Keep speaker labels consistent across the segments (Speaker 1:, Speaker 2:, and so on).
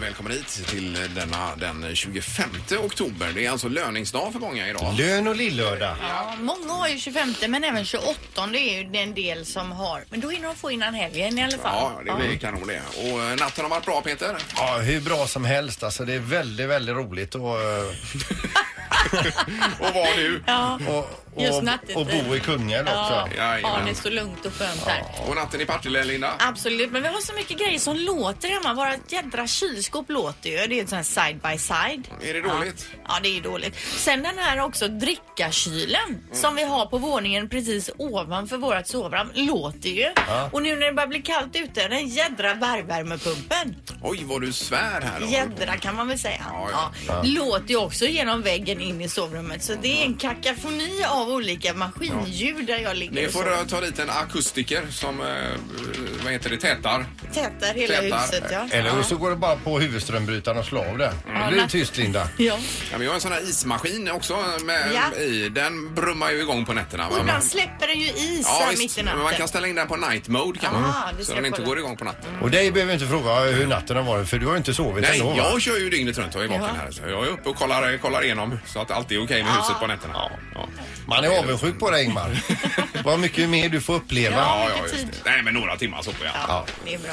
Speaker 1: välkommen hit till denna den 25 oktober. Det är alltså löningsdag för många idag.
Speaker 2: Lön och lillördag.
Speaker 3: Ja, många har ju 25 men även 28 det är ju den del som har. Men då hinner de få innan helgen i alla fall.
Speaker 1: Ja, det blir kanon det. Och eh, natten har varit bra Peter.
Speaker 2: Ja, hur bra som helst. Alltså, det är väldigt, väldigt roligt att eh,
Speaker 1: Och var nu?
Speaker 3: Ja.
Speaker 2: och,
Speaker 3: Just
Speaker 2: och,
Speaker 3: nattetid.
Speaker 2: och bo i Kungälv också.
Speaker 3: Ja,
Speaker 1: Jajamän.
Speaker 3: ja, det är så lugnt och skönt där.
Speaker 1: Och natten i Partille, Linda?
Speaker 3: Absolut, men vi har så mycket grejer som låter hemma. Våra jädra kylskåp låter ju. Det är ett sånt här side by side.
Speaker 1: Är det dåligt?
Speaker 3: Ja, ja det är ju dåligt. Sen den här också drickakylen
Speaker 1: Mm.
Speaker 3: som vi har på våningen precis ovanför vårat sovrum låter ju. Och nu när det börjar bli kallt ute, den jädra bergvärmepumpen.
Speaker 1: Oj, vad du svär här då.
Speaker 3: Jädra kan man väl säga.
Speaker 1: Ja,
Speaker 3: Ja,
Speaker 1: ja.
Speaker 3: Låter ju också genom väggen in i sovrummet. Så det är en kakafoni av olika maskinljud där jag ligger
Speaker 1: Ni
Speaker 3: och
Speaker 1: får
Speaker 3: sover.
Speaker 1: eh, ta dit en akustiker som, eh, vad heter det, tätar.
Speaker 3: tätar hela
Speaker 1: tätar.
Speaker 3: huset. Ja.
Speaker 2: Eller
Speaker 3: ja.
Speaker 2: så går det bara på huvudströmbrytaren och slår av det. Då blir det tyst, Linda.
Speaker 3: Ja.
Speaker 1: Ja, men jag har en sån här ismaskin också med,
Speaker 3: Ja.
Speaker 1: i. Den brummar ju igång på nätterna. va?
Speaker 3: Och
Speaker 1: Men-
Speaker 3: ibland släpper den ju is
Speaker 1: Ja,
Speaker 3: här
Speaker 1: visst.
Speaker 3: mitt i
Speaker 1: Men
Speaker 3: natten.
Speaker 1: man kan ställa in den på night mode kan
Speaker 3: Ah,
Speaker 1: man.
Speaker 3: det
Speaker 1: Så
Speaker 3: ska
Speaker 1: den
Speaker 3: jag
Speaker 1: inte
Speaker 3: kolla.
Speaker 1: går igång på natten.
Speaker 2: Och dig behöver vi inte fråga hur natten har varit för du har ju inte sovit
Speaker 1: Nej,
Speaker 2: ändå. va?
Speaker 1: jag kör ju dygnet runt och är vaken
Speaker 3: Ja.
Speaker 1: här. Så jag är uppe och kollar, kollar igenom så att allt är okej med
Speaker 3: Ja.
Speaker 1: huset på nätterna. Ja. Ja.
Speaker 2: Man är avundsjuk på dig, Ingmar. Vad mycket mer du får uppleva.
Speaker 3: Ja.
Speaker 1: Ja, ja,
Speaker 3: vilken
Speaker 1: just
Speaker 3: tid.
Speaker 1: det. Nej, men några timmar sover jag.
Speaker 3: Ja, det är bra.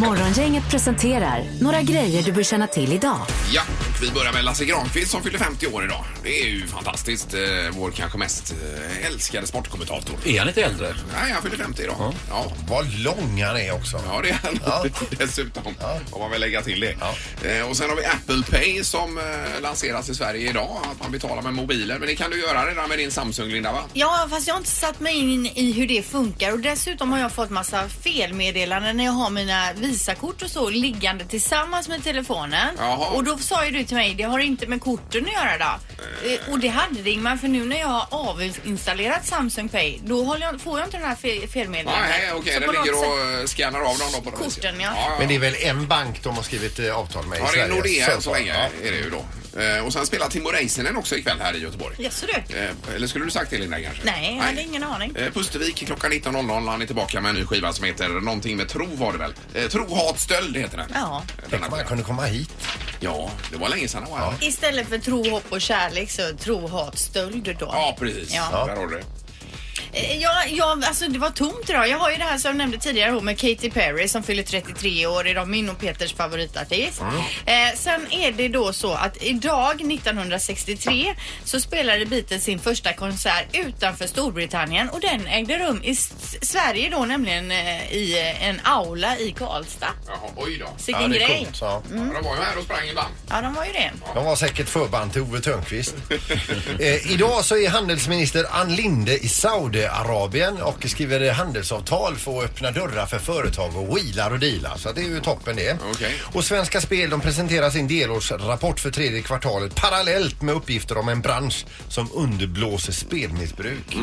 Speaker 4: Morgongänget presenterar några grejer du bör känna till idag.
Speaker 1: Ja, och vi börjar med Lasse Granqvist som fyller 50 år idag. Det är ju fantastiskt. Eh, vår kanske mest eh, älskade sportkommentator.
Speaker 5: Är han lite äldre?
Speaker 1: Nej, han fyller 50 idag. Ja.
Speaker 2: Vad lång han är också.
Speaker 1: Ja, det är han dessutom. Om man vill lägga till det.
Speaker 2: Ja.
Speaker 1: Eh, och sen har vi Apple Pay som eh, lanseras i Sverige idag. Att man betalar med mobilen. Men det kan du göra redan med din Samsung, Linda, va?
Speaker 3: Ja, fast jag har inte satt mig in i hur det funkar och dessutom har jag fått massa felmeddelanden när jag har mina Visakort och så liggande tillsammans med telefonen.
Speaker 1: Jaha.
Speaker 3: Och då sa ju du till mig, det har inte med korten att göra då. Eh, Och det hade det Ingmar, för nu när jag har avinstallerat Samsung Pay, då håller jag, får jag inte den här fe- felmeddelandet.
Speaker 1: Nej, okej.
Speaker 3: Så
Speaker 1: Den
Speaker 3: på något
Speaker 1: ligger
Speaker 3: sätt-
Speaker 1: och eh, scannar av dem då på något vis.
Speaker 3: Korten, ja.
Speaker 1: ja.
Speaker 2: Men det är väl en bank de har skrivit eh, avtal med
Speaker 1: Ja,
Speaker 2: i
Speaker 1: det
Speaker 2: Sverige.
Speaker 1: är Nordea än så länge
Speaker 2: Ja.
Speaker 1: är det ju då. Eh, Och sen spelar Timo Räisänen också ikväll här i Göteborg.
Speaker 3: Jaså du?
Speaker 1: Eh, Eller skulle du sagt det Linda kanske?
Speaker 3: Nej, jag hade ingen aning.
Speaker 1: Eh, Pustervik klockan 19.00. Han är tillbaka med en ny skiva som heter någonting med tro var det väl? Eh, Tro, hat, stöld heter den.
Speaker 3: Ja.
Speaker 1: Eh,
Speaker 2: Tänk
Speaker 1: denna
Speaker 2: om han
Speaker 1: skiva.
Speaker 2: kunde komma hit.
Speaker 1: Ja, det var länge sedan han var här.
Speaker 3: Istället för tro, hopp och kärlek så tro, hat, stöld då.
Speaker 1: Ja, precis.
Speaker 3: Ja.
Speaker 1: Där har du det.
Speaker 3: Eh, Ja, ja, alltså det var tomt idag. Jag har ju det här som jag nämnde tidigare hon med Katy Perry som fyller 33 år. Idag min och Peters favoritartist.
Speaker 1: Mm.
Speaker 3: Eh, sen är det då så att idag 1963 så spelade Beatles sin första konsert utanför Storbritannien och den ägde rum i S- Sverige då nämligen eh, i eh, en aula i Karlstad.
Speaker 1: Jaha, oj då.
Speaker 3: Sicken
Speaker 2: det är
Speaker 3: grej.
Speaker 2: coolt. Ja.
Speaker 3: Mm.
Speaker 1: Ja, de var ju här och sprang ibland.
Speaker 3: Ja, de var ju det.
Speaker 2: De var säkert förband till Ove Thörnqvist. eh, idag så är handelsminister Ann Linde i Saudiarabien och skriver handelsavtal för att öppna dörrar för företag och wheelar och dealar. Så det är ju toppen det.
Speaker 1: Okej.
Speaker 2: Och Svenska Spel de presenterar sin delårsrapport för tredje kvartalet parallellt med uppgifter om en bransch som underblåser spelmissbruk.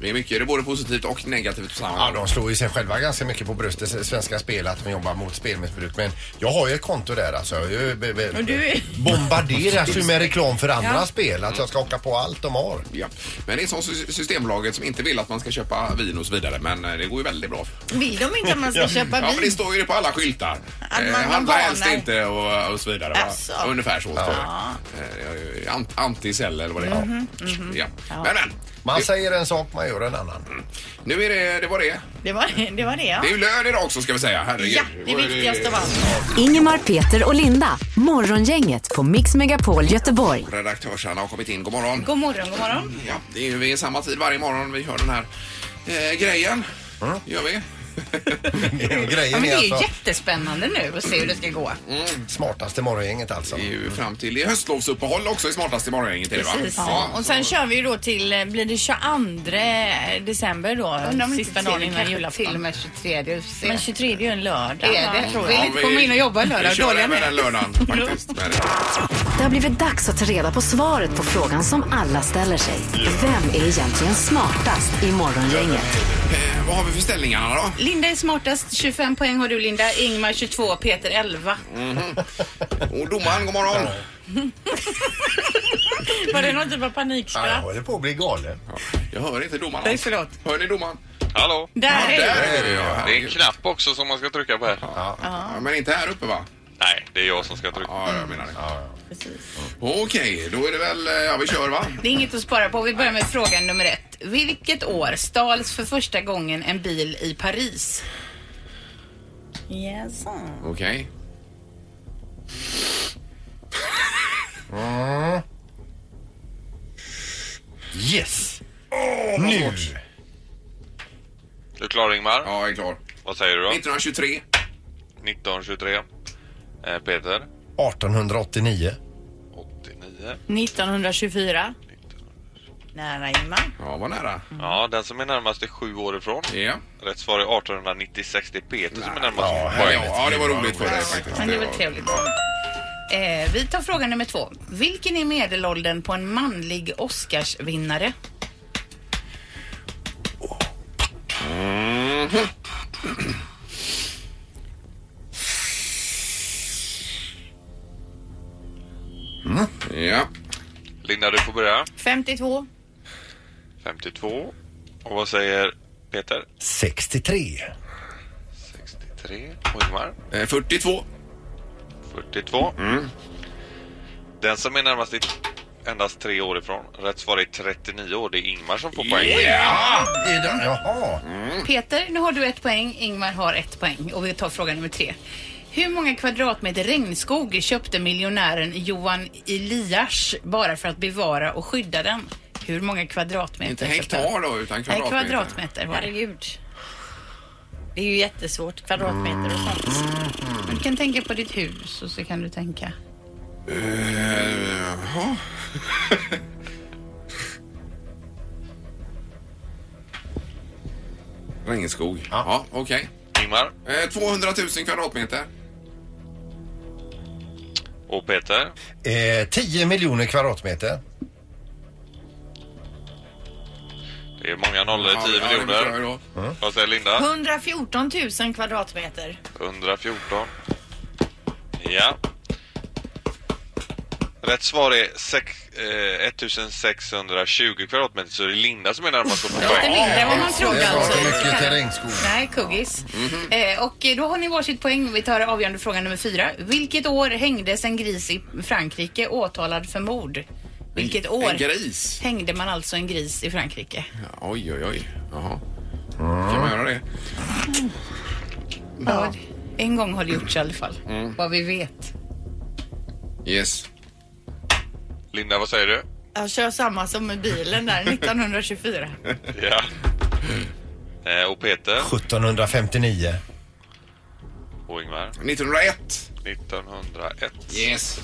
Speaker 1: Det är mycket, det är både positivt och negativt på samma
Speaker 2: Ja,
Speaker 1: gång.
Speaker 2: de slår ju sig själva ganska mycket på bröstet, Svenska Spel, att de jobbar mot spelmissbruk. Men jag har ju ett konto där alltså. Jag är ju be- be-
Speaker 3: Och du är-
Speaker 2: bombarderas ju med reklam för andra spel. Att jag ska åka på allt de har.
Speaker 1: Ja. Men det är som sy- Systembolaget som inte vill att man ska köpa vin och så vidare. Men eh, det går ju väldigt bra.
Speaker 3: Vill de inte att man ska köpa
Speaker 1: Ja,
Speaker 3: vin?
Speaker 1: men det står ju det på alla skyltar.
Speaker 3: Att
Speaker 1: Eh,
Speaker 3: man- man
Speaker 1: Handla
Speaker 3: varnar.
Speaker 1: helst inte och, och så vidare. va?
Speaker 3: Alltså.
Speaker 1: Ungefär så står det. Eh, ant- Anticell eller vad det är.
Speaker 3: Mhm,
Speaker 1: Ja. Men, men.
Speaker 2: Man säger en sak, man gör en annan.
Speaker 1: Nu är det, det var det.
Speaker 3: Det var det, det, var det ja.
Speaker 1: Det är ju lön idag också ska vi säga. Herregud.
Speaker 3: Ja, det viktigaste av allt.
Speaker 4: Ingemar, Peter och Linda. Morgongänget på Mix Megapol Göteborg.
Speaker 1: Redaktörs-Anna har kommit in. God morgon.
Speaker 3: God morgon, god morgon.
Speaker 1: Ja, det är ju vid samma tid varje morgon vi hör den här eh, grejen. Gör vi.
Speaker 6: Ja,
Speaker 2: Grejen
Speaker 6: men det
Speaker 2: är
Speaker 6: är ju
Speaker 2: alltså
Speaker 6: jättespännande nu att se hur det ska gå.
Speaker 1: Mm.
Speaker 2: smartaste morgongänget alltså.
Speaker 1: Det är ju fram till det är höstlovsuppehåll också i smartaste morgongänget. är det, va?
Speaker 6: Precis.
Speaker 1: Ja. Alltså.
Speaker 3: Och sen kör vi ju då till, eh, blir det 22 december då?
Speaker 6: Undrar om inte
Speaker 3: sista
Speaker 6: till-
Speaker 3: dagen innan
Speaker 6: kanske Till och
Speaker 3: julafton.
Speaker 6: med 23. Du får se.
Speaker 3: Men 23 är ju en lördag.
Speaker 6: Det är det.
Speaker 3: tror
Speaker 6: Vill
Speaker 3: jag.
Speaker 1: Ja,
Speaker 6: inte komma in och jobba lördag.
Speaker 1: Vi kör
Speaker 6: Dåliga
Speaker 1: även
Speaker 6: med. Mm.
Speaker 1: den lördagen faktiskt. Men,
Speaker 4: Det har blivit dags att ta reda på svaret på frågan som alla ställer sig. Vem är egentligen smartast i Morgongänget?
Speaker 1: eh, vad har vi för ställningarna då?
Speaker 6: Linda är smartast. 25 poäng har du Linda. Ingmar 22, Peter 11.
Speaker 1: Mm. Och domaren, god morgon.
Speaker 3: Var det någon typ av
Speaker 2: Ja, jag
Speaker 3: panikskratt?
Speaker 2: håller på att bli galen.
Speaker 1: Jag hör inte domaren.
Speaker 6: Nej,
Speaker 1: alls.
Speaker 6: förlåt.
Speaker 1: Hör ni domaren?
Speaker 5: Hallå?
Speaker 6: Där är
Speaker 1: Där
Speaker 6: du.
Speaker 1: är vi ja.
Speaker 5: Det är en knapp också som man ska trycka på här.
Speaker 1: Ja, Men inte här uppe va?
Speaker 5: Nej, det är jag som ska trycka.
Speaker 1: Ja,
Speaker 6: Mm.
Speaker 1: jag menar det.
Speaker 6: Precis.
Speaker 1: Okej, då är det väl, eh, ja vi kör va?
Speaker 6: Det är inget att spara på. Vi börjar med fråga nummer ett. Vilket år stals för första gången en bil i Paris?
Speaker 3: Yes.
Speaker 1: Okej.
Speaker 2: Yes! nu!
Speaker 5: Du är klar Ingmar?
Speaker 1: Ja, jag är klar.
Speaker 5: Vad säger du då?
Speaker 1: 1923.
Speaker 5: 1923. Eh, Peter?
Speaker 2: 1889.
Speaker 5: 89.
Speaker 3: Mm. 1924. Nära Ingmar.
Speaker 1: Ja, var nära.
Speaker 5: Ja, den som är närmast är sju år ifrån.
Speaker 1: Mm. Ja.
Speaker 5: Rätt svar är 1896. Det är Peter som är närmast.
Speaker 2: Ja,
Speaker 1: Ja,
Speaker 2: här-
Speaker 1: ja, ja, det var roligt för dig faktiskt.
Speaker 6: Men det var
Speaker 1: var-
Speaker 6: trevligt. Eh, vi tar fråga nummer två. Vilken är medelåldern på en manlig Oscarsvinnare?
Speaker 1: Ja.
Speaker 5: Linda, du får börja.
Speaker 3: 52.
Speaker 5: 52. Och vad säger Peter?
Speaker 2: 63.
Speaker 5: 63. Och Ingmar?
Speaker 1: Eh, 42.
Speaker 5: 42. Den som är närmast är endast tre år ifrån. Rätt svar är 39 år. Det är Ingmar som får poäng.
Speaker 1: Ja!
Speaker 2: Är den? Jaha.
Speaker 1: Mm.
Speaker 6: Peter, nu har du ett poäng. Ingmar har ett poäng. Och vi tar fråga nummer tre. Hur många kvadratmeter regnskog köpte miljonären Johan Elias bara för att bevara och skydda den? Hur många kvadratmeter?
Speaker 1: Inte
Speaker 6: köpte
Speaker 1: hektar
Speaker 6: han?
Speaker 1: då, utan
Speaker 6: Nej,
Speaker 1: kvadratmeter.
Speaker 6: kvadratmeter var det.
Speaker 3: Herregud. Det är ju jättesvårt. Kvadratmeter och sånt.
Speaker 6: Du kan tänka på ditt hus och så kan du tänka.
Speaker 1: Eh, jaha. Regnskog. Ja, okej.
Speaker 5: Ingmar
Speaker 1: Eh, 200 000 kvadratmeter.
Speaker 5: och Peter.
Speaker 2: Eh, 10 miljoner kvadratmeter.
Speaker 5: Det är många nollor, 10
Speaker 1: Ja, ja, det
Speaker 5: miljoner.
Speaker 1: förstår jag då.
Speaker 5: Vad säger Linda?
Speaker 3: 114 000 kvadratmeter.
Speaker 5: 114. Ja. Rätt svar är sex, eh, 1620 kvadratmeter så det är Linda som är närmast att få
Speaker 6: Lite
Speaker 5: poäng.
Speaker 6: mindre än vad man trodde
Speaker 2: Det var
Speaker 6: alltså.
Speaker 2: för mycket till regnskog.
Speaker 6: Nej, kuggis. Eh, och då har ni varsitt poäng. Vi tar avgörande fråga nummer fyra. Vilket år hängdes en gris i Frankrike åtalad för mord? Vilket år
Speaker 1: En gris.
Speaker 6: hängde man alltså en gris i Frankrike?
Speaker 1: Ja, Oj, oj, oj. Jaha. Kan man göra det?
Speaker 6: Ja. En gång har det gjorts i alla fall, vad vi vet.
Speaker 1: Yes.
Speaker 5: Linda, vad säger du?
Speaker 3: Jag kör samma som med bilen där, 1924.
Speaker 5: Ja. Eh, och Peter
Speaker 2: 1759.
Speaker 5: och Ingmar.
Speaker 1: 1901.
Speaker 5: 1901.
Speaker 1: Yes.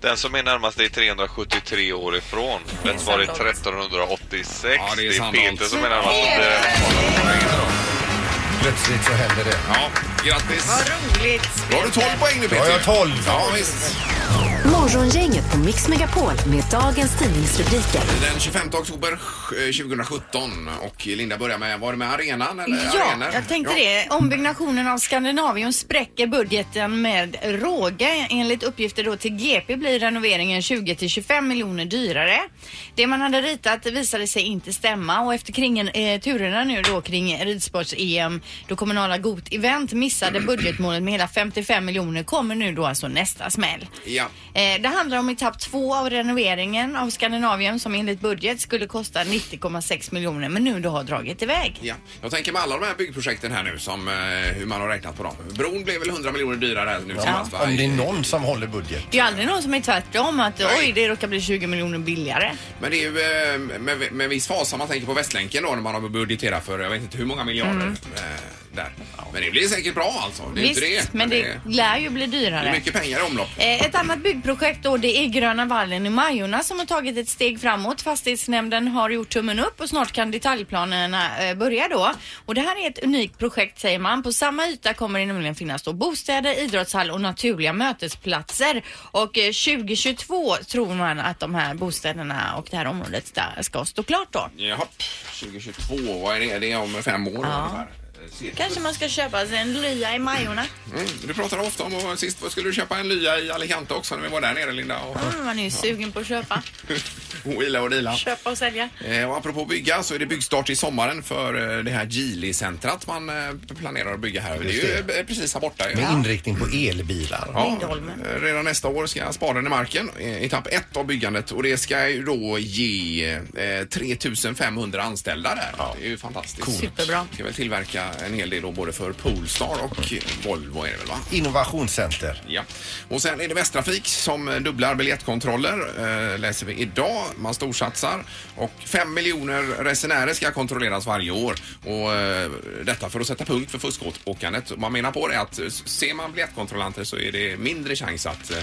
Speaker 5: Den som är närmast är 373 år ifrån. Rätt svar är 1386.
Speaker 1: Ja, det
Speaker 5: det
Speaker 1: är
Speaker 5: är,
Speaker 1: Sandholt.
Speaker 5: Peter som är närmast. Eh,
Speaker 2: Plötsligt så händer det.
Speaker 1: Ja, grattis.
Speaker 3: Vad roligt!
Speaker 1: Då har du 12 poäng nu,
Speaker 2: Då
Speaker 1: Peter.
Speaker 2: har jag 12.
Speaker 1: Ja, visst.
Speaker 4: Morgongänget på Mix Megapol med dagens tidningsrubriker.
Speaker 1: Den 25 oktober eh, 2017 och Linda börjar med, var det med arenan? Eller
Speaker 3: Ja,
Speaker 1: arenor?
Speaker 3: jag tänkte
Speaker 1: Ja.
Speaker 3: det. Ombyggnationen av Skandinavium spräcker budgeten med råge. Enligt uppgifter då till GP blir renoveringen 20 till 25 miljoner dyrare. Det man hade ritat visade sig inte stämma och efter kringen, eh, turerna nu då kring ridsports-EM då kommunala Got Event missade budgetmålet med hela 55 miljoner kommer nu då alltså nästa smäll.
Speaker 1: Ja.
Speaker 3: Eh, Det handlar om etapp två av renoveringen av Skandinavien som enligt budget skulle kosta 90,6 miljoner men nu då har dragit iväg.
Speaker 1: Ja, jag tänker med alla de här byggprojekten här nu som eh, hur man har räknat på dem. Bron blev väl 100 miljoner dyrare här nu senast va?
Speaker 2: Om det är någon som håller budget.
Speaker 3: Det är ju aldrig någon som är tvärtom att
Speaker 1: Nej.
Speaker 3: oj det råkar bli 20 miljoner billigare.
Speaker 1: Men det är ju eh, med, med viss fasa man tänker på Västlänken då när man har budgeterat för jag vet inte hur många miljarder
Speaker 3: Mm.
Speaker 1: eh, där. Men det blir säkert bra alltså. Det är ju
Speaker 3: Visst,
Speaker 1: inte det.
Speaker 3: men det lär ju bli
Speaker 1: det är
Speaker 3: dyrare.
Speaker 1: mycket pengar i omlopp.
Speaker 3: Eh, Ett annat byggprojekt då det är Gröna vallen i Majorna som har tagit ett steg framåt. Fastighetsnämnden har gjort tummen upp och snart kan detaljplanerna eh, börja då. Och det här är ett unikt projekt säger man. På samma yta kommer det nämligen finnas då bostäder, idrottshall och naturliga mötesplatser. Och eh, 2022 tror man att de här bostäderna och det här området där ska stå klart då.
Speaker 1: Jaha, 2022, vad är det? Det är om fem år ungefär. cirkus.
Speaker 3: Kanske man ska köpa sig en lya i Majorna.
Speaker 1: Mm. Du pratade ofta om, och sist skulle du köpa en lya i Alicante också när vi var där nere Linda och,
Speaker 3: Mm, man är ju sugen på att köpa.
Speaker 1: och Ila och Dila.
Speaker 3: Köpa och sälja.
Speaker 1: Eh, och apropå bygga så är det byggstart i sommaren för eh, det här Geely-centrat man eh, planerar att bygga här. Det är ju eh, precis här borta. ju.
Speaker 2: Med inriktning på elbilar.
Speaker 3: Lindholmen.
Speaker 1: eh, redan nästa år ska spaden i marken, eh, etapp ett av byggandet och det ska ju då ge eh, 3500 anställda där. Det är ju fantastiskt.
Speaker 3: Superbra.
Speaker 1: Ska väl tillverka en hel del då både för Polestar och Volvo är det väl va?
Speaker 2: Innovationscenter.
Speaker 1: Ja. Och sen är det Västtrafik som dubblar biljettkontroller, eh, läser vi idag. Man storsatsar och 5 miljoner resenärer ska kontrolleras varje år. Och eh, detta för att sätta punkt för fuskåkandet. Och Man menar på det att eh, ser man biljettkontrollanter så är det mindre chans att eh,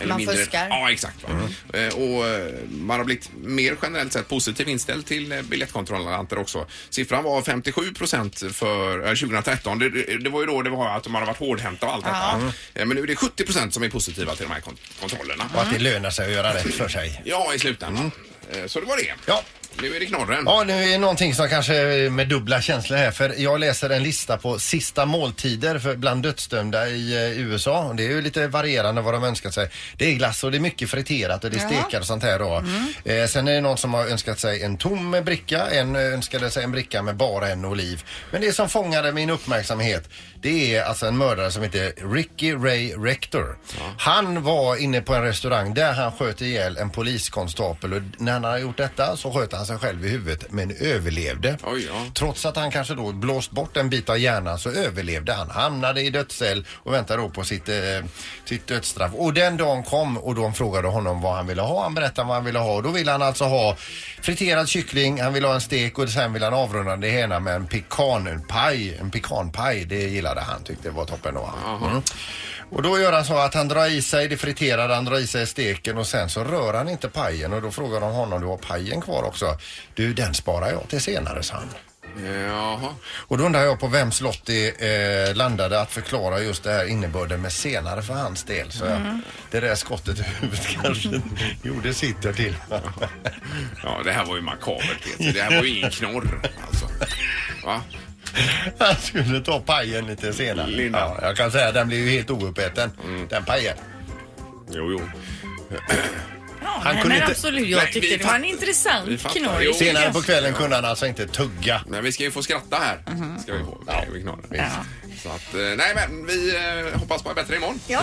Speaker 1: eller
Speaker 3: Man
Speaker 1: mindre,
Speaker 3: fuskar.
Speaker 1: Ja, exakt. Va?
Speaker 2: Mm.
Speaker 1: Eh, Och eh, man har blivit mer generellt sett positiv inställd till eh, biljettkontrollanter också. Siffran var 57 procent för eh, 2013. Det, det det var ju då det var att man har varit hårdhänta och allt detta. Eh, Men nu är det 70 procent som är positiva till de här kon- kontrollerna.
Speaker 2: Och att det lönar sig att göra rätt för sig.
Speaker 1: Ja, i slutändan. Eh, Så det var det.
Speaker 2: Mm. Ja.
Speaker 1: Nu är det knorren.
Speaker 2: Ja, nu är det någonting som kanske är med dubbla känslor här för jag läser en lista på sista måltider för bland dödsdömda i eh, USA. Och Det är ju lite varierande vad de önskar sig. Det är glass och det är mycket friterat och det är stekar och sånt här då. Eh, sen är det någon som har önskat sig en tom bricka, en eh, önskade sig en bricka med bara en oliv. Men det som fångade min uppmärksamhet det är alltså en mördare som heter Ricky Ray Rector. Han var inne på en restaurang där han sköt ihjäl en poliskonstapel och när han hade gjort detta så sköt han sig själv i huvudet men överlevde.
Speaker 1: Oj, ja.
Speaker 2: Trots att han kanske då blåst bort en bit av hjärnan så överlevde han. Hamnade i dödscell och väntade då på sitt, eh, sitt dödsstraff. Och den dagen kom och de frågade honom vad han ville ha. Han berättade vad han ville ha och då ville han alltså ha friterad kyckling, han ville ha en stek och sen ville han avrunda det hela med en pekanpaj. En pekanpaj, det gillade han. Tyckte det var toppen då. Mm. Och då gör han så att han drar i sig det friterade, han drar i sig steken och sen så rör han inte pajen och då frågar de honom, du har pajen kvar också? Du, den sparar jag till senare, sa han.
Speaker 1: Jaha.
Speaker 2: Och då undrar jag på vems lott det eh, landade att förklara just det här innebörden med senare för hans del. Så jag, det där skottet i huvudet kanske gjorde sitt till.
Speaker 1: Ja, det här var ju makabert Peter. Det här var ju ingen knorr alltså. Va?
Speaker 2: Han skulle ta pajen lite senare.
Speaker 1: Linda. Mm.
Speaker 2: Ja, jag kan säga den blev ju helt ouppäten, den pajen.
Speaker 1: Jo, jo.
Speaker 3: Ja,
Speaker 2: Han
Speaker 3: nej,
Speaker 2: kunde
Speaker 3: men
Speaker 2: inte-
Speaker 3: absolut.
Speaker 1: Nej,
Speaker 3: Jag
Speaker 1: vi
Speaker 3: tyckte det
Speaker 1: fatt-
Speaker 3: var en
Speaker 1: vi
Speaker 3: intressant
Speaker 1: fattar.
Speaker 3: knorr.
Speaker 1: Jo.
Speaker 2: Senare på kvällen kunde han alltså inte tugga.
Speaker 1: Men vi ska ju få skratta här.
Speaker 3: Mhm.
Speaker 1: Ska vi få. Ja. Vi knorrar. Så att, eh, nej men vi eh, hoppas på bättre imorgon.
Speaker 3: Ja.
Speaker 1: Mm.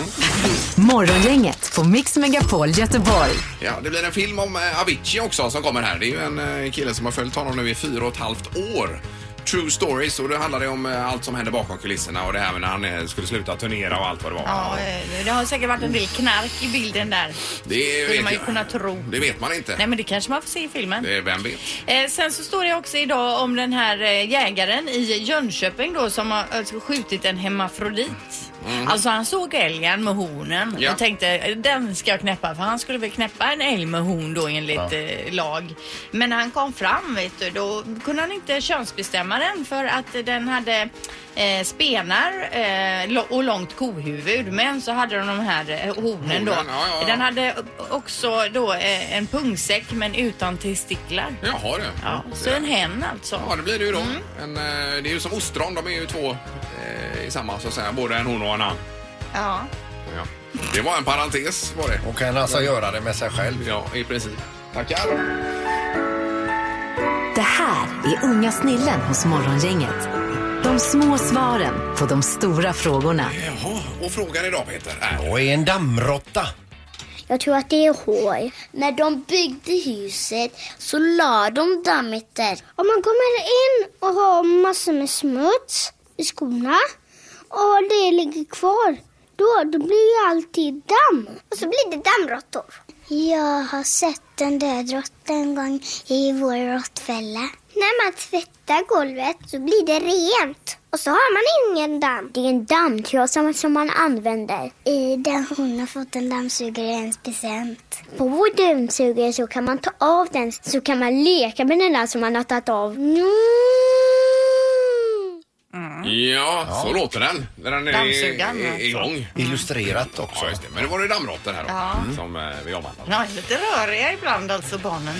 Speaker 4: Morgongänget på Mix Megapol Göteborg.
Speaker 1: Ja, det blir en film om eh, Avicii också som kommer här. Det är ju en eh, kille som har följt honom nu i fyra och ett halvt år. True Stories och det handlar det om eh, allt som hände bakom kulisserna och det här med när han eh, skulle sluta turnera och allt vad det var.
Speaker 3: Ja, eh, det har säkert varit en del knark i bilden där.
Speaker 1: det
Speaker 3: Skulle
Speaker 1: vet
Speaker 3: man ju
Speaker 1: jag-
Speaker 3: kunna tro.
Speaker 1: Det vet man inte.
Speaker 3: Nej men det kanske man får se i filmen.
Speaker 1: Det är vem vet?
Speaker 3: Eh, sen så står det också idag om den här eh, jägaren i Jönköping då som har alltså, skjutit en hemmafrodit. Alltså han såg älgen med hornen
Speaker 1: Mm. Ja.
Speaker 3: och tänkte eh, den ska jag knäppa för han skulle väl knäppa en älg med horn då enligt eh, lag. Men när han kom fram vet du, då kunde han inte könsbestämma den för att eh, den hade eh, spenar eh, lo- och långt kohuvud men så hade de de här eh, hornen då.
Speaker 1: Hornen, ja, ja, ja.
Speaker 3: Den hade också då eh, en pungsäck men utan testiklar.
Speaker 1: Jaha du.
Speaker 3: Ja, så en hen alltså.
Speaker 1: Ja, det blir det ju då. En, eh, det är ju som ostron, de är ju två eh, i samma så att säga. Både en hon och en han.
Speaker 3: Ja.
Speaker 1: Ja. Det var en parentes var det.
Speaker 2: Och kan
Speaker 1: Mm.
Speaker 2: alltså göra det med sig själv.
Speaker 1: Ja, i princip. Tackar.
Speaker 4: Det här är unga snillen hos Morgongänget. De små svaren på de stora frågorna.
Speaker 1: Jaha, och frågan idag Peter är...
Speaker 2: Och är en dammråtta.
Speaker 7: Jag tror att det är hår. När de byggde huset så la de dammet där. Om man kommer in och har massor med smuts i skorna och det ligger kvar, då, då blir ju alltid damm. Och så blir det dammråttor. Jag har sett en död råtta en gång i vår råttfälla. När man tvättar golvet så blir det rent och så har man ingen damm. Det är en dammtrasa som man använder. I den hon har fått en dammsugare i ens present. På vår dammsugare så kan man ta av den så kan man leka med den där som man har tagit av. Mm.
Speaker 1: Ja, så låter den. När den är i-
Speaker 3: Dammsugaren,
Speaker 1: i-
Speaker 3: alltså.
Speaker 1: igång.
Speaker 2: Illustrerat också.
Speaker 1: Ja, just det. Men det var det dammråttor här då, som eh, vi omvandlade.
Speaker 3: Ja, lite röriga ibland alltså barnen.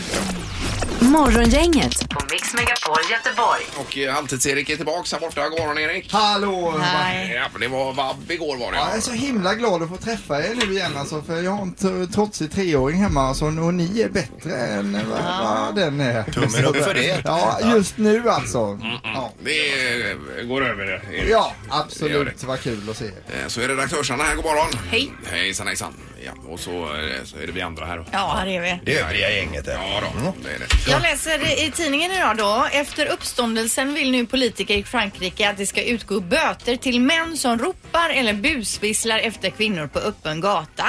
Speaker 4: Morgongänget på Mix Megapol Göteborg.
Speaker 1: Och eh, Halvtids-Erik är tillbaks här borta. God morgon Erik!
Speaker 8: Hallå!
Speaker 3: Nej.
Speaker 1: Ja, men det var vabb igår var det.
Speaker 8: Ja, jag är så himla glad att få träffa er nu igen alltså, för jag har en t- trotsig treåring hemma alltså, och ni är bättre än vad vad den är.
Speaker 2: Tummen upp för det. Mm,
Speaker 8: Ja, just nu alltså. Ja,
Speaker 1: Det eh, går över det. Erik.
Speaker 8: ja
Speaker 1: Det gör
Speaker 8: absolut. Vad kul att se er.
Speaker 1: Eh, Så är redaktörsarna här, god morgon.
Speaker 6: Hej.
Speaker 1: Hejsan hejsan. Ja, och så, eh, så är det vi andra här då.
Speaker 3: Ja, här är vi.
Speaker 2: Det övriga gänget där.
Speaker 1: Ja då, det är det.
Speaker 3: Jag läser i tidningen idag då. Efter uppståndelsen vill nu politiker i Frankrike att det ska utgå böter till män som ropar eller busvisslar efter kvinnor på öppen gata.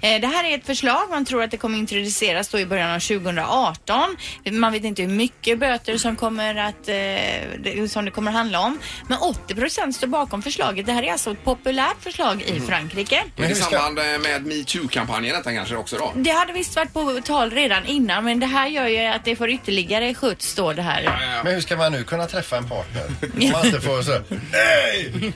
Speaker 3: Eh, Det här är ett förslag. Man tror att det kommer introduceras då i början av 2018. Man vet inte hur mycket böter som, kommer att, eh, det- som det kommer handla om. Men 80 procent står bakom förslaget. Det här är alltså ett populärt förslag i Frankrike.
Speaker 1: Men
Speaker 2: Men
Speaker 1: i
Speaker 2: hur ska-
Speaker 1: samband eh, med metoo-kampanjen detta kanske också då?
Speaker 3: Det hade visst varit på tal redan innan men det här gör ju att det får ytterligare skjuts då det här.
Speaker 2: Men hur ska man nu kunna träffa en partner? Om man inte får så här, Nej!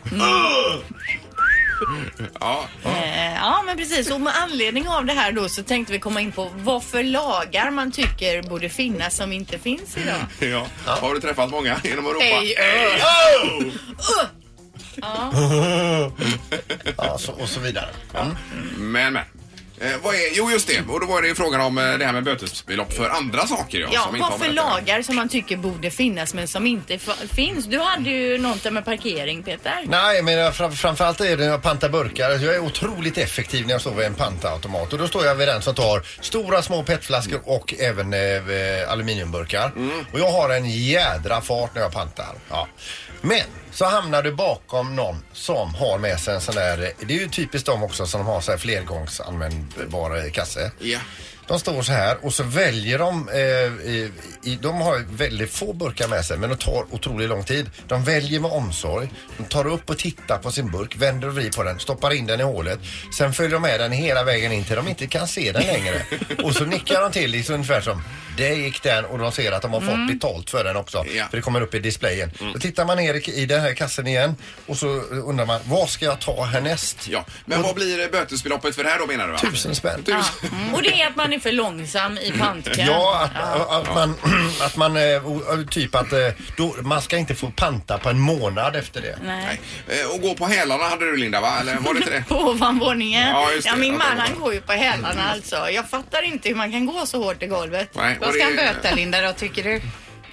Speaker 1: Ja,
Speaker 3: Eh, Ja men precis och med anledning av det här då så tänkte vi komma in på vad för lagar man tycker borde finnas som inte finns idag.
Speaker 1: ja. Har du träffat många genom att ropa?
Speaker 3: Hej,
Speaker 2: Ja, så, och så vidare.
Speaker 1: Men, men. Eh, vad är, jo, just det. Och då var det ju frågan om eh, det här med bötesbelopp för andra saker. Ja,
Speaker 3: Ja,
Speaker 1: som inte har
Speaker 3: vad
Speaker 1: med
Speaker 3: för
Speaker 1: detta att göra.
Speaker 3: lagar som man tycker borde finnas men som inte fa- finns. Du hade ju någonting med parkering Peter.
Speaker 2: Nej, men jag- fram, framförallt är det när jag pantar burkar. Alltså, Jag är otroligt effektiv när jag står vid en pantautomat. Och då står jag vid den som tar stora små petflaskor och även eh, aluminiumburkar. Och jag har en jädra fart när jag pantar. Ja. Men så hamnar du bakom någon som har med sig en sån där, eh, det är ju typiskt de också som har så här flergångsanvändbara kasse.
Speaker 1: Ja.
Speaker 2: De står så här och så väljer de, eh, i, i, de har väldigt få burkar med sig men de tar otroligt lång tid. De väljer med omsorg, de tar upp och tittar på sin burk, vänder och vrider på den, stoppar in den i hålet. Sen följer de med den hela vägen in till de inte kan se den längre. Och så nickar de till liksom ungefär som det gick den och de ser att de har fått betalt för den också.
Speaker 1: Ja.
Speaker 2: För det kommer upp i displayen. Då tittar man ner i- i den här kassen igen och så undrar man vad ska jag ta härnäst?
Speaker 1: ja. Men vad blir eh, bötesbeloppet för det här då menar du? va?
Speaker 2: Tusen spänn.
Speaker 3: Mm. Och det är att man är för långsam i pantkön.
Speaker 2: Ja, att, att man, att man eh, o- o- typ att eh, då, man ska inte få panta på en månad efter det.
Speaker 1: Nej. Eh, Och gå på hälarna hade du Linda va? Eller var det inte det?
Speaker 3: På ovanvåningen.
Speaker 1: Ja,
Speaker 3: Ja,
Speaker 1: just det.
Speaker 3: min
Speaker 1: Ja,
Speaker 3: man
Speaker 1: det var
Speaker 3: han
Speaker 1: det.
Speaker 3: går ju på hälarna alltså. Jag fattar inte hur man kan gå så hårt i golvet.
Speaker 1: Nej, och
Speaker 6: Vad ska
Speaker 1: det-
Speaker 6: han böta Linda då tycker du?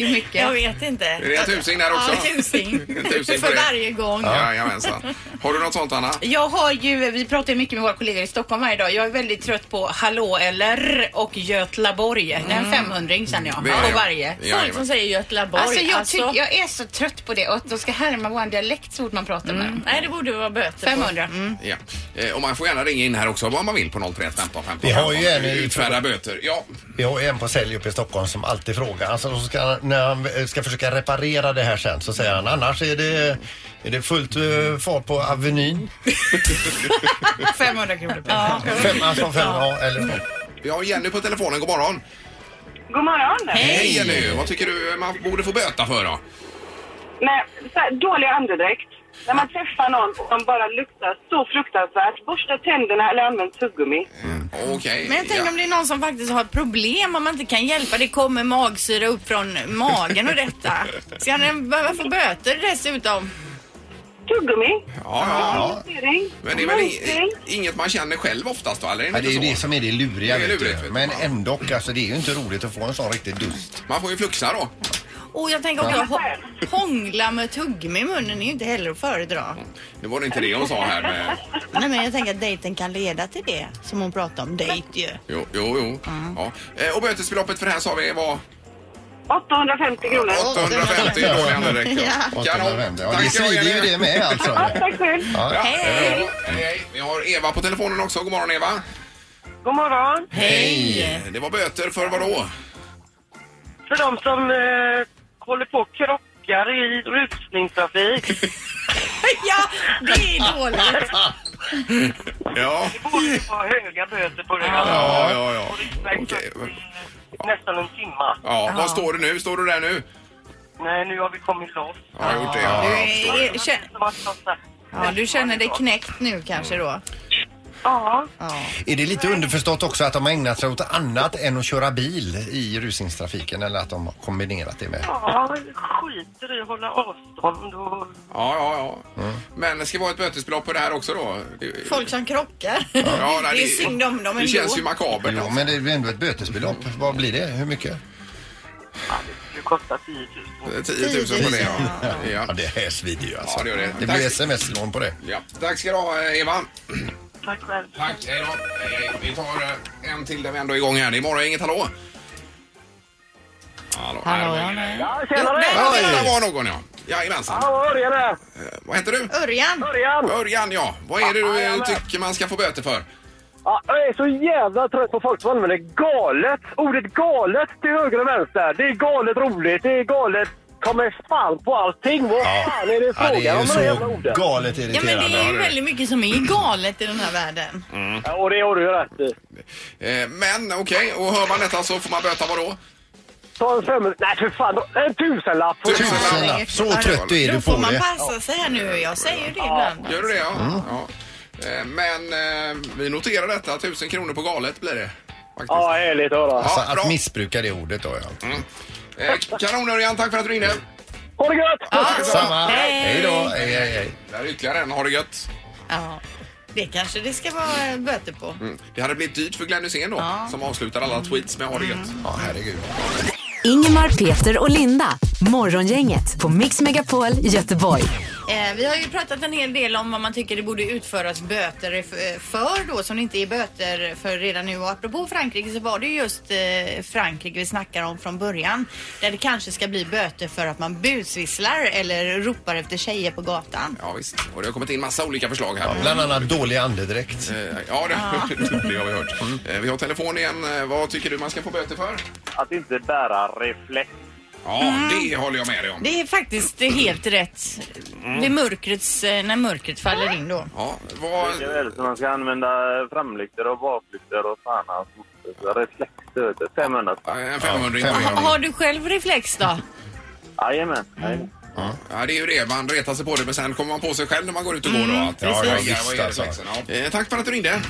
Speaker 6: Hur
Speaker 3: Jag
Speaker 6: mycket?
Speaker 3: vet inte.
Speaker 1: Är det en tusing där också?
Speaker 3: Ja, en tusing.
Speaker 1: En tusing på
Speaker 3: För
Speaker 1: det.
Speaker 3: varje gång.
Speaker 1: Jajamensan. Har du något sånt Anna?
Speaker 3: Mm.
Speaker 6: Jag har ju, vi pratar ju mycket med våra kollegor i Stockholm varje dag. Jag är väldigt trött på Hallå eller och Götlaborg. Det är en 500 känner jag.
Speaker 1: Det Mm. är det.
Speaker 6: På varje.
Speaker 3: Folk som
Speaker 1: Jajamän.
Speaker 3: säger Göteborg.
Speaker 6: Alltså jag, tycker, jag är så trött på det och att de ska härma vår dialekt så fort man pratar med
Speaker 1: Mm.
Speaker 6: Mm. dem.
Speaker 3: Nej, det borde vara böter.
Speaker 6: 500.
Speaker 1: Ja. Eh, Och man får gärna ringa in här också vad man vill på 031 15 15.
Speaker 2: Vi har ju en i-
Speaker 1: Utfärda böter. Ja.
Speaker 2: Vi har ju en på sälj uppe i Stockholm som alltid frågar. Alltså, så ska, han- när han eh, ska försöka reparera det här sen så säger han annars är det, är det fullt eh, fart på Avenyn.
Speaker 6: 500 kronor.
Speaker 2: Fem, alltså fem, ja. eller,
Speaker 1: Vi har Jenny på telefonen. God morgon.
Speaker 9: God morgon!
Speaker 1: Hej, Jenny! Vad tycker du man borde få böta för då?
Speaker 9: Men, så här, dålig andedräkt. När man träffar någon och de bara luktar så fruktansvärt. Borsta tänderna eller använd tuggummi.
Speaker 1: Okej.
Speaker 3: Men jag tänker
Speaker 1: ja.
Speaker 3: om det är någon som faktiskt har ett problem om man inte kan hjälpa. Det kommer magsyra upp från magen och detta. Ska den behöva få böter dessutom?
Speaker 9: Tuggummi?
Speaker 1: Ja, ja, ja.
Speaker 9: Annonsering?
Speaker 1: Men det är väl
Speaker 9: Annonsering?
Speaker 1: i- inget man känner själv oftast då? Eller är det,
Speaker 2: ja, det är ju
Speaker 1: inte
Speaker 2: det
Speaker 1: så?
Speaker 2: som är det luriga.
Speaker 1: Det är
Speaker 2: vet du.
Speaker 1: lurigt, vet du.
Speaker 2: Men
Speaker 1: Ja.
Speaker 2: ändå, alltså, det är ju inte roligt att få en sån riktig dust.
Speaker 1: Man får ju fluxa då.
Speaker 3: Och jag tänker om jag hå- hånglar med tuggummi i munnen är ju inte heller att föredra.
Speaker 1: Nu var det inte det hon sa här. Men...
Speaker 3: Nej, men jag tänker att dejten kan leda till det som hon pratar om. Dejt ju.
Speaker 1: Jo, jo, jo. Ja. Eh, Och bötesbeloppet för det här sa vi var
Speaker 9: 850 kronor.
Speaker 1: 850 dåliga andedräkt.
Speaker 2: Och att de
Speaker 1: Kanon.
Speaker 2: vänder. Ja,
Speaker 1: Tack
Speaker 2: det
Speaker 1: ska du ha,
Speaker 2: svider ju
Speaker 1: Jenny.
Speaker 2: det med alltså.
Speaker 9: Ja, tack själv.
Speaker 1: Ja,
Speaker 3: Hej.
Speaker 1: ja, hej. Vi har Eva på telefonen också. God morgon Eva.
Speaker 9: God morgon.
Speaker 3: Hej!
Speaker 1: Det var böter för vad då?
Speaker 9: För de som eh, håller på och krockar i rusningstrafik.
Speaker 3: Ja, det är dåligt.
Speaker 1: Ja,
Speaker 9: Det borde ju vara höga böter på det.
Speaker 1: ja, ja. ja. Okej.
Speaker 9: Okej. Nästan en timma.
Speaker 1: Ja, vad står du nu? Står du där nu?
Speaker 9: Nej, nu har vi kommit loss.
Speaker 1: Ja, jag har gjort det. Ja,
Speaker 3: Du,
Speaker 1: ja.
Speaker 3: är, är, kän-
Speaker 9: Som att-
Speaker 3: ja, du känner dig knäckt nu kanske då?
Speaker 9: Ja.
Speaker 2: Är det lite underförstått också att de har ägnat sig åt annat än att köra bil i rusningstrafiken eller att de har kombinerat det med?
Speaker 9: Ja, skiter i att hålla avstånd och...
Speaker 1: Ja, ja, ja. Men det ska vara ett bötesbelopp på det här också då? Det-
Speaker 3: Folk som krockar.
Speaker 1: Ja, nej,
Speaker 3: det är synd om dem
Speaker 1: Det
Speaker 3: ändå.
Speaker 1: känns ju makabert.
Speaker 2: Ja, men det är ändå ett bötesbelopp. Vad blir det? Hur mycket?
Speaker 9: Ja, det skulle kosta 10 000.
Speaker 1: 10 000 på det, ja.
Speaker 2: Ja,
Speaker 1: ja.
Speaker 2: det är svider ju alltså.
Speaker 1: Ja, det gör det.
Speaker 2: det
Speaker 1: Tack.
Speaker 2: blir sms-lån på det.
Speaker 1: Ja. Tack ska du ha, eh, Eva.
Speaker 9: Tack själv.
Speaker 1: Tack, hej då. Eh, Vi tar eh, en till där vi ändå är igång här. Det är morgon, inget hallå? Hallå,
Speaker 6: Hallå,
Speaker 1: här.
Speaker 6: ja, nej.
Speaker 9: Ja,
Speaker 1: Ja,
Speaker 2: Oj.
Speaker 1: det där var någon ja. Jajamensan.
Speaker 9: Hallå, det är det.
Speaker 1: Eh, Vad heter du?
Speaker 3: Örjan.
Speaker 9: Örjan!
Speaker 1: Örjan ja. Vad är det du eh,
Speaker 9: Jajamän.
Speaker 1: tycker man ska få böter för?
Speaker 9: Ja, jag är så jävla trött på folk som använder galet. Ordet galet till höger och vänster. Det är galet roligt, det är galet... Kommer fan på allting. Vad fan är det
Speaker 2: ja,
Speaker 9: frågan
Speaker 2: det är
Speaker 9: om
Speaker 2: ju
Speaker 9: de här jävla
Speaker 2: så
Speaker 9: orden?
Speaker 2: galet
Speaker 3: Ja men det
Speaker 2: irriterande.
Speaker 1: Ja,
Speaker 3: är
Speaker 1: det-
Speaker 3: ju väldigt mycket som är galet i den här världen.
Speaker 9: Ja, och det har du ju rätt i.
Speaker 1: Eh, Men okej, och hör man detta så får man böta vad då?
Speaker 9: Ta en fem... Nej, för fan. En tusenlapp.
Speaker 2: Tusenlapp. Så trött är
Speaker 3: Då
Speaker 2: du på
Speaker 3: får man
Speaker 2: det.
Speaker 3: passa sig här nu. Jag säger ju det ibland.
Speaker 1: Gör du det ja? ja. Eh, Men eh, vi noterar detta, 1000 kronor på galet blir det. Faktiskt.
Speaker 9: Ja, härligt att höra.
Speaker 2: Alltså,
Speaker 1: Ja, bra.
Speaker 2: att missbruka det ordet då, ja.
Speaker 1: Eh, Kanon Örjan, tack för att du ringde.
Speaker 9: Ha det gött!
Speaker 2: Samma.
Speaker 3: Hej.
Speaker 2: Hej då. Hej, hej, hej.
Speaker 1: Där är ytterligare en, har det gött.
Speaker 3: Ja. Det kanske det ska vara eh, böter på.
Speaker 1: Det hade blivit dyrt för Glenn Hysén då, som avslutar alla tweets med har det gött.
Speaker 2: Ja, herregud.
Speaker 4: Ingemar, Peter och Linda. Morgongänget på Mix Megapol Göteborg.
Speaker 3: Eh, vi har ju pratat en hel del om vad man tycker det borde utföras böter f- för då som det inte är böter för redan nu. Och apropå Frankrike så var det ju just eh, Frankrike vi snackar om från början. Där det kanske ska bli böter för att man busvisslar eller ropar efter tjejer på gatan.
Speaker 1: Ja, visst. Och det har kommit in massa olika förslag här. Ja,
Speaker 2: Bland annat dålig andedräkt.
Speaker 1: ja det, det har vi hört. Eh, Vi har telefon igen. Eh, Vad tycker du man ska få böter för?
Speaker 9: Att inte bära reflex.
Speaker 1: Ja, det håller jag med dig om.
Speaker 3: Det är faktiskt helt rätt
Speaker 1: Mm.
Speaker 3: vid mörkrets, eh, när mörkret faller in då.
Speaker 1: Ja, vad...
Speaker 9: Det är väl som man ska använda framlyktor och baklyktor och fan alltså, reflexer vet du. 500 spänn.
Speaker 1: eh, En 500
Speaker 2: Ja,
Speaker 1: ja,
Speaker 3: Ha, har du själv reflex då?
Speaker 9: Jajamän.
Speaker 1: Mm.
Speaker 9: jajamän.
Speaker 1: ja, Det är ju det, man retar sig på det men sen kommer man på sig själv när man går ut och går då. Att,
Speaker 2: precis.
Speaker 1: ja,
Speaker 2: Ja,
Speaker 1: ja,
Speaker 2: visst,
Speaker 1: vad är
Speaker 2: alltså.
Speaker 1: reflexen? ja. Eh, Tack för att du ringde.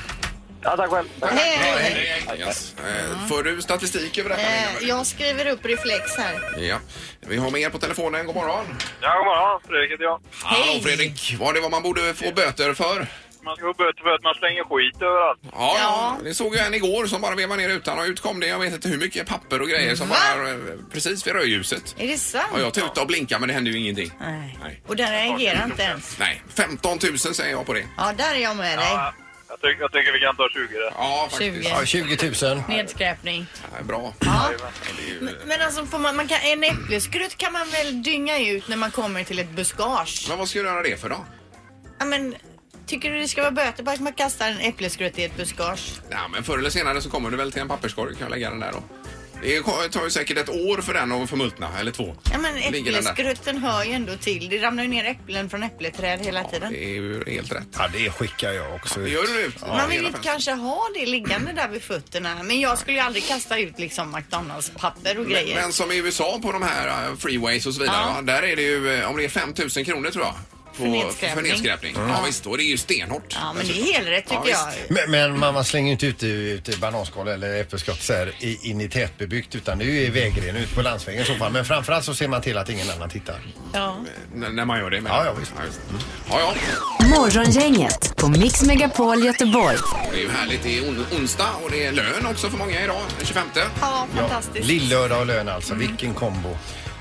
Speaker 9: Ja, tack själv.
Speaker 1: Hej, hej. Yes. Eh, Får du statistik över detta?
Speaker 3: Eh,
Speaker 1: Linda?
Speaker 3: jag skriver upp reflex här.
Speaker 1: Ja. Vi har med er på telefonen. God morgon.
Speaker 9: Ja, god morgon. Fredrik heter jag.
Speaker 1: Hallå Fredrik. Var det vad man borde få böter för?
Speaker 9: Man ska få böter för att man slänger skit överallt.
Speaker 1: Ja,
Speaker 3: Ja.
Speaker 1: det såg jag en igår som bara vevade ner utan och ut kom det jag vet inte hur mycket papper och grejer som
Speaker 3: Va?
Speaker 1: var eh, precis vid rödljuset.
Speaker 3: Är det sant?
Speaker 1: Ja, jag tutade och blinkade men det hände ju ingenting.
Speaker 3: Nej.
Speaker 1: Nej.
Speaker 3: Och den reagerar inte ens.
Speaker 1: Nej, 15 000 säger jag på det.
Speaker 3: Ja, där är jag med dig.
Speaker 9: Jag, tycker, jag tycker vi kan ta 20 där.
Speaker 1: Ja, faktiskt.
Speaker 3: 20.
Speaker 1: Ja,
Speaker 2: Ja, 20 000.
Speaker 3: Nedskräpning.
Speaker 1: bra.
Speaker 3: Ja. Men alltså, får man, man kan, en äppelskrutt kan man väl dynga ut när man kommer till ett buskage?
Speaker 1: Men vad ska du göra det för då?
Speaker 3: Ja, men, tycker du det ska vara böter bara att man kastar en äppelskrutt i ett buskage?
Speaker 1: Ja, men förr eller senare så kommer du väl till en papperskorg. Kan jag lägga den där då? Det tar ju säkert ett år för den att förmultna, eller två.
Speaker 3: Ja, men
Speaker 1: Ligger den där?
Speaker 3: äppelskrutten hör ju ändå till. Det ramlar ju ner äpplen från äppleträd hela
Speaker 1: Ja,
Speaker 3: tiden.
Speaker 1: det är ju helt rätt.
Speaker 2: Ja, det skickar jag också ut.
Speaker 1: Gör du det?
Speaker 3: Man vill ju inte kanske ha det liggande där vid fötterna. Men jag skulle ju aldrig kasta ut liksom McDonalds-papper och
Speaker 1: Men,
Speaker 3: grejer.
Speaker 1: men som i USA på de här eh, freeways och så vidare,
Speaker 3: Ja.
Speaker 1: va? där är det ju eh, om det är 5 000 kronor tror jag. På,
Speaker 3: För nedskräpning.
Speaker 1: För nedskräpning.
Speaker 2: Mm.
Speaker 1: Ja, visst, och det är ju stenhårt. Alltså,
Speaker 3: Ja, men det är helrätt tycker
Speaker 1: Ja,
Speaker 3: jag.
Speaker 2: Men, men man, man slänger ju inte ut, ut bananskal eller äppelskott så här, i- in i tätbebyggt utan det är ju i vägrenen ut på landsvägen i så fall. Men framförallt så ser man till att ingen annan tittar.
Speaker 3: Ja.
Speaker 1: N- när man gör det. Men...
Speaker 2: Ja, ja, visst.
Speaker 1: Ja, ja, ja.
Speaker 4: Morgongänget på Mix Megapol Göteborg.
Speaker 1: det är ju härligt. Det är on- onsdag och det är lön också för många idag, den 25.
Speaker 3: ja, fantastiskt.
Speaker 2: Lillördag och lön alltså, vilken kombo.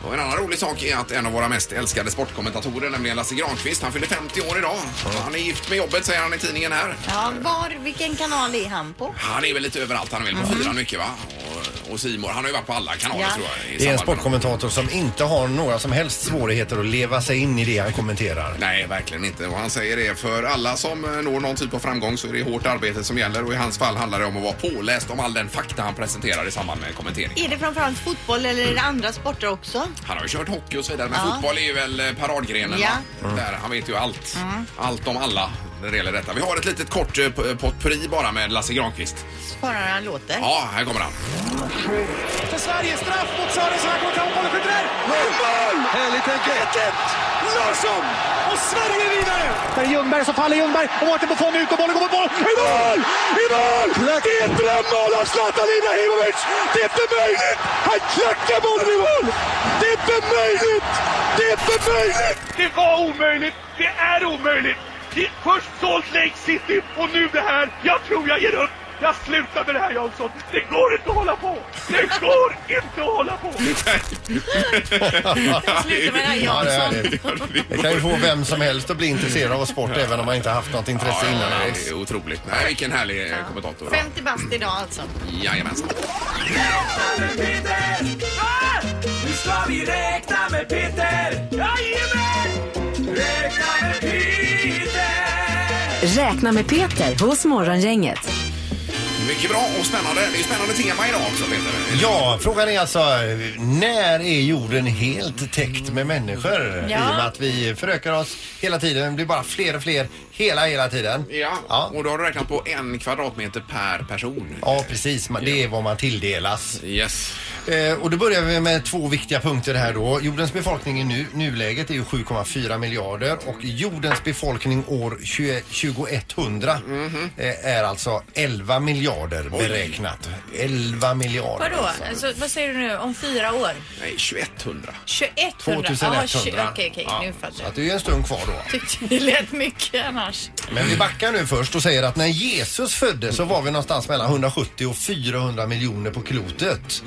Speaker 1: Och en annan rolig sak är att en av våra mest älskade sportkommentatorer, nämligen Lasse Granqvist, han fyller 50 år idag. Han är gift med jobbet, säger han i tidningen här.
Speaker 3: Ja, var, vilken kanal är han på?
Speaker 1: Han är väl lite överallt han vill på fyran mycket va? Och- Och Simon, han har ju varit på alla kanaler
Speaker 3: Ja.
Speaker 1: tror jag. i
Speaker 2: Det är en
Speaker 1: samband med-
Speaker 2: sportkommentator som inte har några som helst svårigheter att leva sig in i det han kommenterar.
Speaker 1: Nej, verkligen inte. Och han säger det, för alla som eh, når någon typ av framgång så är det hårt arbete som gäller och i hans fall handlar det om att vara påläst om all den fakta han presenterar i samband med kommentering.
Speaker 3: Är det framförallt fotboll eller är det andra sporter också?
Speaker 1: Han har ju kört hockey och så vidare, men
Speaker 3: Ja.
Speaker 1: fotboll är ju väl eh, paradgrenen
Speaker 3: Ja.
Speaker 1: va? Där, han vet ju allt. Allt om alla när det gäller detta. Vi har ett litet kort eh, p- potpurri bara med Lasse Granqvist.
Speaker 3: Bara han låter.
Speaker 1: Ja, här kommer han.
Speaker 10: För Sverige straff mot Sörensen. Han kommer fram och skjuter! Mål! Härligt tänket! Larsson! Och Sverige är vidare! Där är Ljungberg, så faller Ljungberg. Och åter på fång ut och bollen går på boll. I mål! I mål! Det är ett drömmål av Zlatan Ibrahimovic! Det är inte möjligt! Han klackar bollen i mål! Det är inte möjligt! Det är inte möjligt!
Speaker 11: Det var omöjligt! Det är omöjligt! Det- Först Salt Lake City och nu det här. Jag tror jag ger upp! Jag slutar med det här Jansson! Det går inte att hålla på! Det går inte att hålla på!
Speaker 3: Sluta med det här
Speaker 2: Ja, det är
Speaker 3: Jansson.
Speaker 2: härligt. Det kan ju få vem som helst att bli intresserad av sport även om man inte haft något intresse
Speaker 1: Ja,
Speaker 2: innan
Speaker 1: nej,
Speaker 2: alls.
Speaker 1: det är otroligt. Nej, vilken härlig eh, kommentator.
Speaker 3: 50 bast idag alltså.
Speaker 1: Jajamensan.
Speaker 10: Nu ska vi räkna med Peter! Jajamän! Räkna med Peter!
Speaker 4: Räkna med Peter hos Morgongänget.
Speaker 1: Mycket bra och spännande. Det är spännande tema idag också Peter.
Speaker 2: Ja, frågan är alltså när är jorden helt täckt med människor? I och med att vi förökar oss hela tiden, blir bara fler och fler hela, hela tiden.
Speaker 1: Ja,
Speaker 2: Ja.
Speaker 1: och då har du räknat på en kvadratmeter per person.
Speaker 2: Ja, precis. Man- Det är vad man tilldelas.
Speaker 1: Yes.
Speaker 2: Eh, och då börjar vi med två viktiga punkter här då. Jordens befolkning i nu, nuläget är ju 7,4 miljarder och jordens befolkning år 20, 2100 eh, är alltså 11 miljarder beräknat. 11 miljarder.
Speaker 3: Vadå? Alltså, vad säger du nu? Om fyra år?
Speaker 1: Nej, 2100.
Speaker 3: 2100?
Speaker 2: 2100.
Speaker 3: Ah, tju- Okej, okej. Nu
Speaker 2: Så
Speaker 3: fattar jag.
Speaker 2: att det är ju en stund kvar då.
Speaker 3: Tyckte det lät mycket annars.
Speaker 2: Men vi backar nu först och säger att när Jesus föddes så var vi någonstans mellan 170 och 400 miljoner på klotet.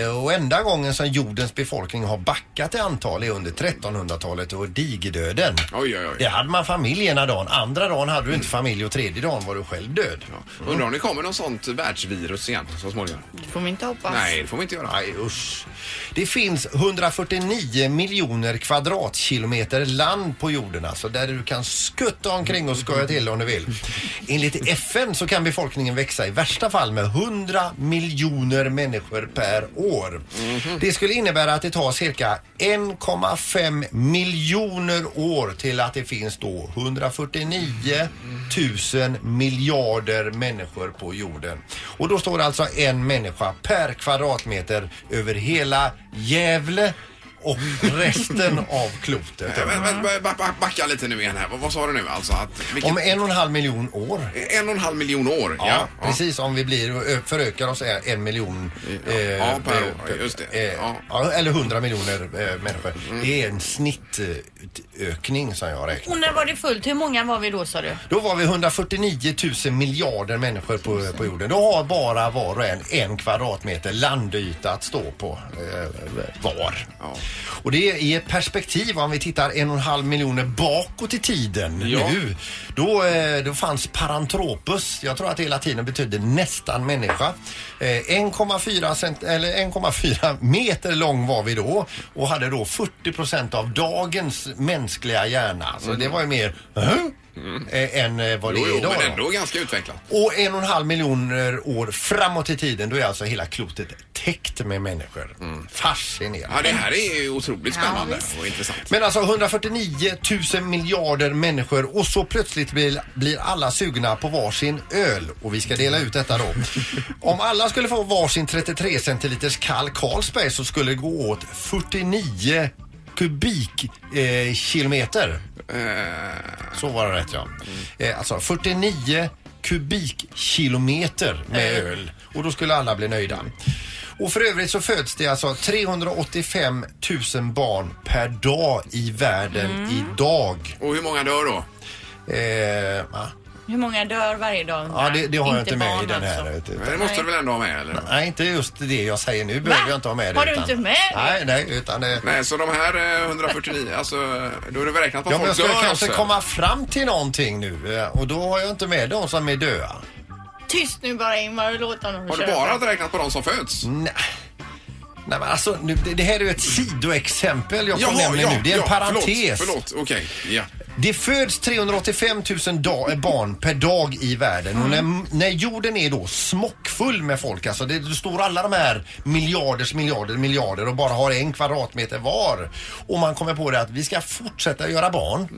Speaker 2: Eh, och enda gången som jordens befolkning har backat i antal är under 1300-talet och digerdöden.
Speaker 1: Oj, oj, oj.
Speaker 2: Det hade man familj ena dagen, andra dagen hade du inte familj och tredje dagen var du själv död.
Speaker 1: Undrar om det kommer någon sånt världsvirus igen så småningom?
Speaker 3: Det får man inte hoppas.
Speaker 1: Nej, det får vi inte göra.
Speaker 2: Nej, usch. Det finns 149 miljoner kvadratkilometer land på jorden alltså, där du kan skutta omkring och skoja till om du vill. Enligt FN så kan befolkningen växa i värsta fall med 100 miljoner människor per år. Det skulle innebära att det tar cirka 1,5 miljoner år till att det finns då 149 000 miljarder människor på jorden. Och då står det alltså en människa per kvadratmeter över hela Gävle och resten av klotet.
Speaker 1: Eh, vä- vä- vä- ba- ba- Backa lite nu igen här. Vad, vad sa du nu alltså? Att, vilket,
Speaker 2: Om en och en halv miljon år.
Speaker 1: en och en halv miljon år?
Speaker 2: Ja, precis. Om vi blir och ö- förökar oss är en miljon.
Speaker 1: Ja, ja, per år. Just det.
Speaker 2: eh,
Speaker 1: Ja. Mm.
Speaker 2: ja, Eller hundra miljoner eh, människor. Det är en snittökning som jag räknar.
Speaker 3: Och när var det fullt? Hur många var vi då sa du?
Speaker 2: Då var vi 149 000 miljarder människor på, på jorden. Då har bara var och en en kvadratmeter landyta att stå på eh, var.
Speaker 1: Ja.
Speaker 2: Och det är i ett perspektiv, om vi tittar en och en halv miljoner bakåt i tiden
Speaker 1: Ja.
Speaker 2: nu, då, eh, då fanns parantropus. Jag tror att det hela tiden betyder nästan människa. Eh, 1,4 cent- eller 1,4 meter lång var vi då och hade då 40 procent av dagens mänskliga hjärna. Så det var ju mer "Hä?" eh, än eh, vad det
Speaker 1: Jo,
Speaker 2: är
Speaker 1: jo,
Speaker 2: idag.
Speaker 1: men
Speaker 2: då.
Speaker 1: ändå ganska utvecklat.
Speaker 2: Och en och en halv miljoner år framåt i tiden, då är alltså hela klotet täckt med människor.
Speaker 1: Mm.
Speaker 2: Fascinerande.
Speaker 1: Ja, det här är ju otroligt spännande och intressant.
Speaker 2: Men alltså 149 000 miljarder människor och så plötsligt blir, blir alla sugna på varsin öl och vi ska dela ut detta då. Om alla skulle få varsin 33 centiliters kall Carlsberg så skulle det gå åt 49 kubikkilometer. Eh, kilometer. Så var det rätt ja. Eh, alltså 49 kubikkilometer med öl och då skulle alla bli nöjda. Och för övrigt så föds det alltså 385 000 barn per dag i världen
Speaker 3: Mm.
Speaker 2: idag.
Speaker 1: Och hur många dör då?
Speaker 2: Eh, va?
Speaker 3: Hur många dör varje dag?
Speaker 2: ja, det, det har jag inte med
Speaker 3: barn
Speaker 2: i den här.
Speaker 3: alltså.
Speaker 2: utan-
Speaker 1: Det måste du väl ändå ha med eller?
Speaker 2: Nej, inte just det jag säger nu behöver jag inte ha med det.
Speaker 3: Har du inte med det?
Speaker 2: Nej, nej, utan det...
Speaker 1: Nej, så de här eh, 149, alltså då har du väl räknat på
Speaker 2: Ja, men
Speaker 1: folk alltså.
Speaker 2: jag ska
Speaker 1: dör
Speaker 2: kanske
Speaker 1: också?
Speaker 2: komma fram till någonting nu eh, och då har jag inte med de som är döda.
Speaker 3: Tyst nu bara Ingmar och låt honom
Speaker 1: Har du
Speaker 3: köra
Speaker 1: bara
Speaker 3: på.
Speaker 1: räknat på de som föds?
Speaker 2: Nej. Nej, men alltså, nu, det, det här är ju ett sidoexempel jag
Speaker 1: Jaha,
Speaker 2: nämner nu. Det är en parentes.
Speaker 1: Förlåt, förlåt okej. Ja.
Speaker 2: Det föds 385 000 da- eh, barn per dag i världen och när, när jorden är då smockfull med folk, alltså det, det står alla de här miljarders miljarder miljarder och bara har en kvadratmeter var och man kommer på det att vi ska fortsätta göra barn.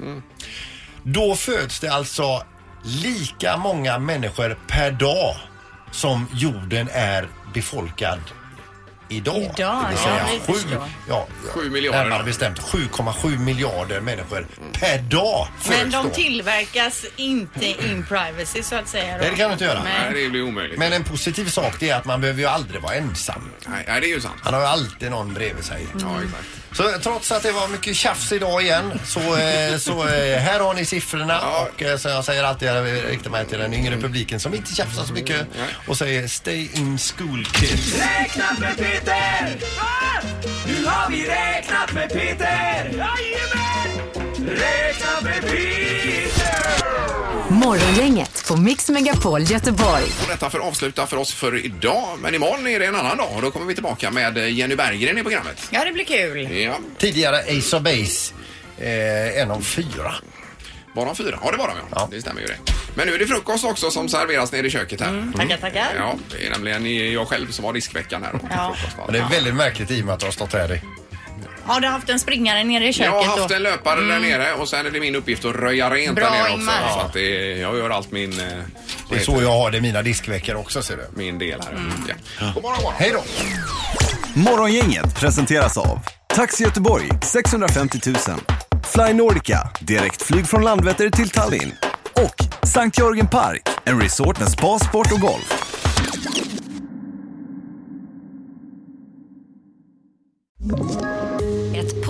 Speaker 2: Då föds det alltså lika många människor per dag som jorden är befolkad idag.
Speaker 6: Idag,
Speaker 2: det vill
Speaker 6: ja,
Speaker 2: säga
Speaker 6: det
Speaker 2: sju,
Speaker 6: förstår jag.
Speaker 2: ja,
Speaker 1: Sju miljarder.
Speaker 2: Närmare bestämt 7,7 miljarder människor per dag.
Speaker 3: Men
Speaker 2: föds då.
Speaker 3: de tillverkas inte in privacy så att säga. då.
Speaker 2: Nej, det kan du inte göra.
Speaker 3: Nej.
Speaker 1: det blir omöjligt.
Speaker 2: Men en positiv sak det är att man behöver ju aldrig vara ensam.
Speaker 1: Nej, det är ju sant.
Speaker 2: Han har ju alltid någon bredvid sig.
Speaker 1: Ja, exakt.
Speaker 2: Så trots att det var mycket tjafs idag igen så, eh, så eh, här har ni siffrorna och eh, som jag säger alltid, jag riktar mig till den yngre publiken som inte tjafsar så mycket och säger stay in school kids.
Speaker 10: Räknat med Peter! Nu har vi räknat med Peter! Jajamän! Räknat med Peter!
Speaker 4: Morgongänget på Mix Megapol Göteborg.
Speaker 1: Och detta för att avsluta för oss för idag. Men imorgon är det en annan dag och då kommer vi tillbaka med eh, Jenny Berggren i programmet.
Speaker 3: Ja, det blir kul.
Speaker 1: Ja,
Speaker 2: Tidigare Ace of Base, eh, en av fyra.
Speaker 1: var de fyra? Ja, det var de ja. Det stämmer ju det. Men nu är det frukost också som serveras nere i köket här.
Speaker 2: Mm.
Speaker 3: Tackar, tackar.
Speaker 1: Ja, det är nämligen jag själv som har diskveckan här.
Speaker 3: Ja.
Speaker 2: Och det är väldigt märkligt i och med att de har stått här i.
Speaker 3: Har du haft en springare nere i köket?
Speaker 1: Jag har haft
Speaker 3: då? Mm.
Speaker 1: en löpare där nere och sen är det min uppgift att röja rent
Speaker 3: Bra,
Speaker 1: där nere också.
Speaker 3: Ingmar.
Speaker 1: Så att det, jag gör allt min, eh, vad
Speaker 2: Det är
Speaker 1: heter
Speaker 2: så jag har det i mina diskveckor också ser du.
Speaker 1: det? min del här.
Speaker 3: Mm.
Speaker 1: Ja. God morgon, god morgon.
Speaker 2: Hej då!
Speaker 12: Morgongänget presenteras av Taxi Göteborg 650 000 Fly Nordica, direktflyg från Landvetter till Tallinn och Sankt Jörgen Park, en resort med spa, sport och golf.
Speaker 13: Ett